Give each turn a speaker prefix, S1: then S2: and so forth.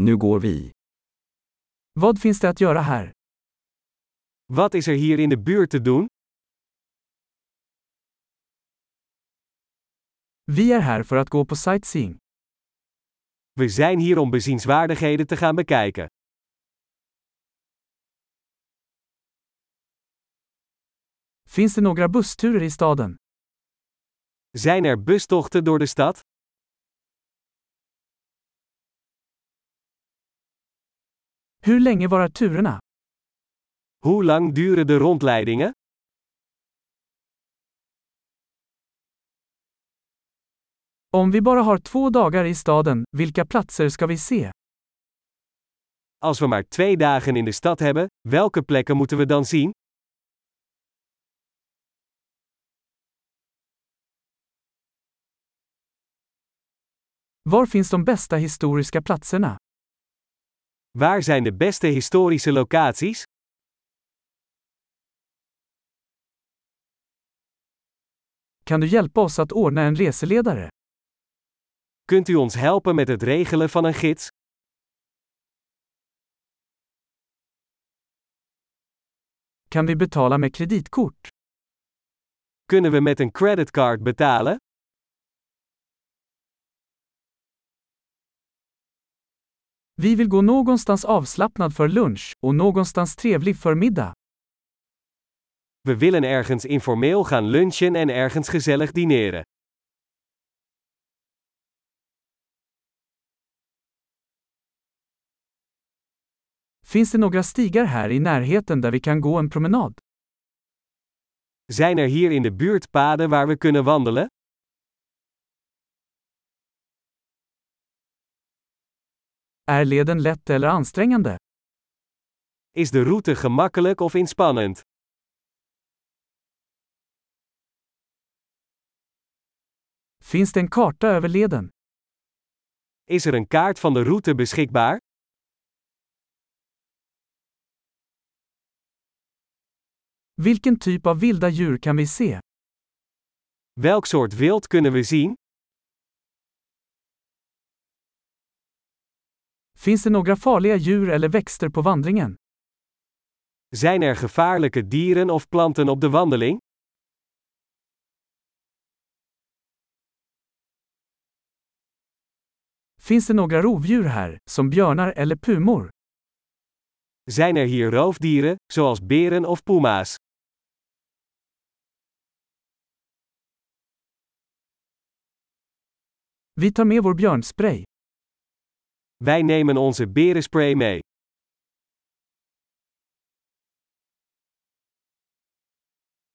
S1: Nu går vi.
S2: Vad finns det att göra här?
S3: Wat is er hier in de buurt te doen?
S2: Vi är här för att gå på sightseeing.
S3: We zijn hier om bezienswaardigheden te gaan bekijken.
S2: Finns det några bussturer i staden?
S3: Zijn er bustochten door de stad?
S2: Hur länge varar turerna?
S3: Hoe lang duren de rondleidingen?
S2: Om vi bara har två dagar i staden, vilka platser ska vi se?
S3: Als we maar twee dagen in de stad hebben, welke plekken moeten we dan zien?
S2: Var finns de bästa historiska platserna?
S3: Waar zijn de beste historische locaties?
S2: Kan du hjälpa oss att ordna en reseledare?
S3: Kunt u ons helpen met het regelen van een gids?
S2: Kan vi betala med kreditkort?
S3: Kunnen we met een creditcard betalen?
S2: Vi vill gå någonstans avslappnad för lunch och någonstans trevlig för middag.
S3: We willen ergens informeel gaan lunchen en ergens gezellig dineren.
S2: Finns det några stigar här i närheten där vi kan gå en promenad?
S3: Zijn er hier in de buurt paden waar we kunnen wandelen?
S2: Är leden lätt eller ansträngande?
S3: Is de route gemakkelijk of inspannend?
S2: Finns det en karta över leden?
S3: Is er een kaart van de route beschikbaar?
S2: Vilken typ av vilda djur kan vi se?
S3: Welk soort wild kunnen we zien?
S2: Finns det några farliga djur eller växter på vandringen?
S3: Zijn er gevaarlijke dieren of planten op de wandeling?
S2: Finns det några rovdjur här, som björnar eller pumor?
S3: Zijn er hier roofdieren, zoals beren of puma's?
S2: Vi tar med vår björnspray.
S3: Wij nemen onze berenspray mee.